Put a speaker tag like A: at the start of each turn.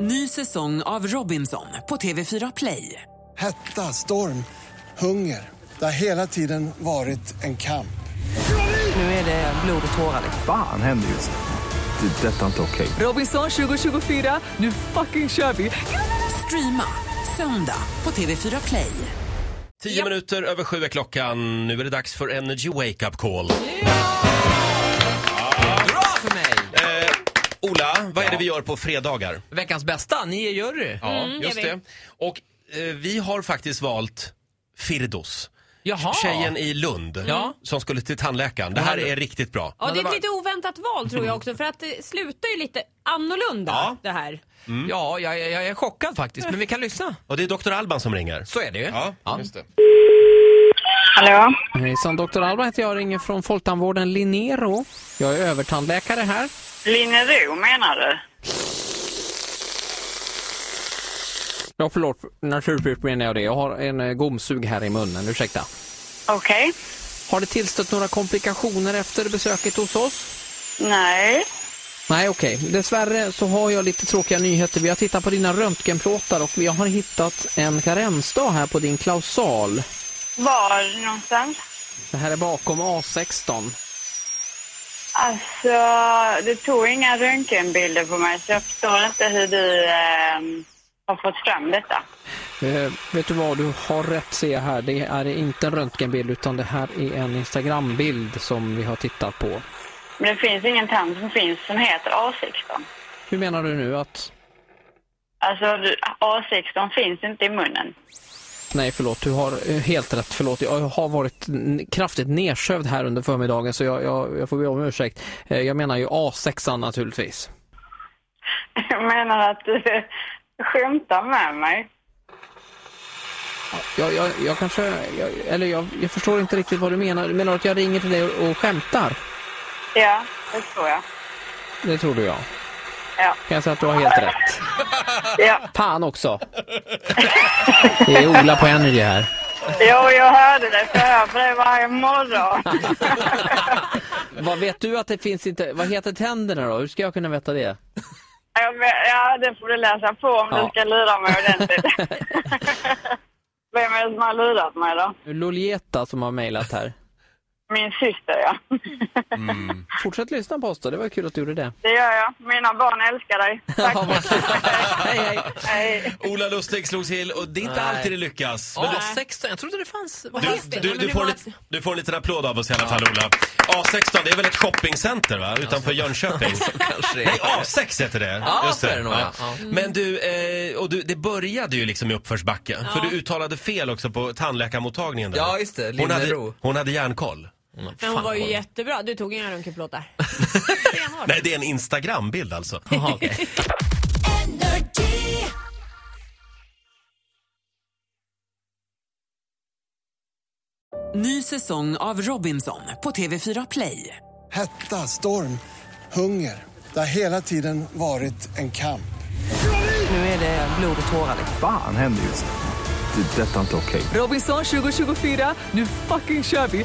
A: Ny säsong av Robinson på TV4 Play.
B: Hetta, storm, hunger. Det har hela tiden varit en kamp.
A: Nu är det blod och tårar.
C: Fan händer just nu. Det. är Detta är inte okej.
A: Robinson 2024, nu fucking kör vi! Streama söndag på TV4 Play.
D: Tio minuter över sju är klockan. Nu är det dags för Energy Wake Up Call.
E: Bra för mig!
D: Eh,
E: Mm,
D: Ola, vad är det vi gör på fredagar?
E: Veckans bästa, ni är jury.
D: Ja, just det. Och eh, vi har faktiskt valt Firdos.
E: Jaha.
D: Tjejen i Lund
E: Ah. Ja. Mm.
D: som skulle till tandläkaren. Det här är riktigt bra.
F: Ja, det är
E: det
F: ett
E: var-
F: lite oväntat val tror jag också för att det slutar ju lite annorlunda
D: Ja.
F: det här.
E: Ja, jag, jag, jag är chockad faktiskt, men vi kan lyssna.
D: Och det är Dr. Alban som ringer.
E: Så är det ju.
D: just det.
G: Hallå?
E: Hejsan, Dr. Alba heter jag ringer från Folktandvården Linero. Jag är övertandläkare här.
G: Linnero menar du?
E: Ja, förlåt. Naturligtvis menar jag det. Jag har en eh, gomsug här i munnen, ursäkta.
G: Okej.
E: Har det tillstött några komplikationer efter besöket hos oss?
G: Nej.
E: Nej, okej. Dessvärre så har jag lite tråkiga nyheter. Vi har tittat på dina röntgenplåtar och vi har hittat en karensdag här på din klausal.
G: Var någonstans?
E: Det här är bakom A16.
G: Alltså, du tog inga röntgenbilder på mig så jag förstår inte hur du ehm, har fått fram detta.
E: Eh, vet du vad, du har rätt ser jag här. Det är inte en röntgenbild utan det här är en Instagrambild som vi har tittat på.
G: Men det finns ingen tand som finns som heter A16.
E: Hur menar du nu att...
G: Alltså, du- A16 finns inte i munnen.
E: Nej förlåt, du har eh, helt rätt. Förlåt, jag har varit n- kraftigt nedsövd här under förmiddagen så jag, jag, jag får be om ursäkt. Eh, jag menar ju A6 naturligtvis.
G: Jag menar att du skämtar med mig.
E: Jag, jag, jag kanske... Jag, eller jag, jag förstår inte riktigt vad du menar. Menar du att jag ringer till dig och, och skämtar?
G: Ja, det tror jag.
E: Det tror du jag.
G: Ja.
E: Kan jag säga att du har helt rätt.
G: ja.
E: Fan också! Det är Ola på Energy här.
G: Jo, jag hörde det för jag hör på det varje morgon.
E: Vad vet du att det finns inte? Vad heter tänderna då? Hur ska jag kunna veta det?
G: Ja, men- Ja, det får du läsa på om
E: Ja.
G: du ska lura mig ordentligt. Vem är det som har lurat mig då?
E: Lolieta som har mejlat här.
G: Min syster, ja.
E: Mm. Fortsätt lyssna på oss då, det var kul att du gjorde det.
G: Det gör jag. Mina barn älskar dig. Tack.
E: Ja, vad kul. hej hej!
G: Hej.
D: Ola Lustig slog till och det är inte
E: Nej.
D: alltid det lyckas. Men
E: A16, jag trodde det fanns... Vad
D: du, du, du, får en, lit- du får en liten applåd av oss i alla fall Ola. A16 det är väl ett shoppingcenter va? Utanför Jönköping.
E: kanske
D: Nej, A6 heter det.
E: Ja, så är det nog, ja. Ja. Mm.
D: Men du, eh, och du, det började ju liksom i uppförsbacke. För du uttalade fel också på tandläkarmottagningen där.
E: Ja, just det. Mm.
D: Hon hade,
E: Linnero.
D: hon hade järnkoll.
F: Men hon var ju jättebra. Du tog inga röntgenplåtar. Stenhårt.
D: Nej, det är en Instagram-bild alltså.
A: Ny säsong av Robinson på TV4 Play.
B: Hetta, storm, hunger. Det har hela tiden varit en kamp.
A: Nu är det blod och tårar.
C: Fan händer just nu. Det. är Detta är inte okej.
A: Robinson 2024, nu fucking kör vi!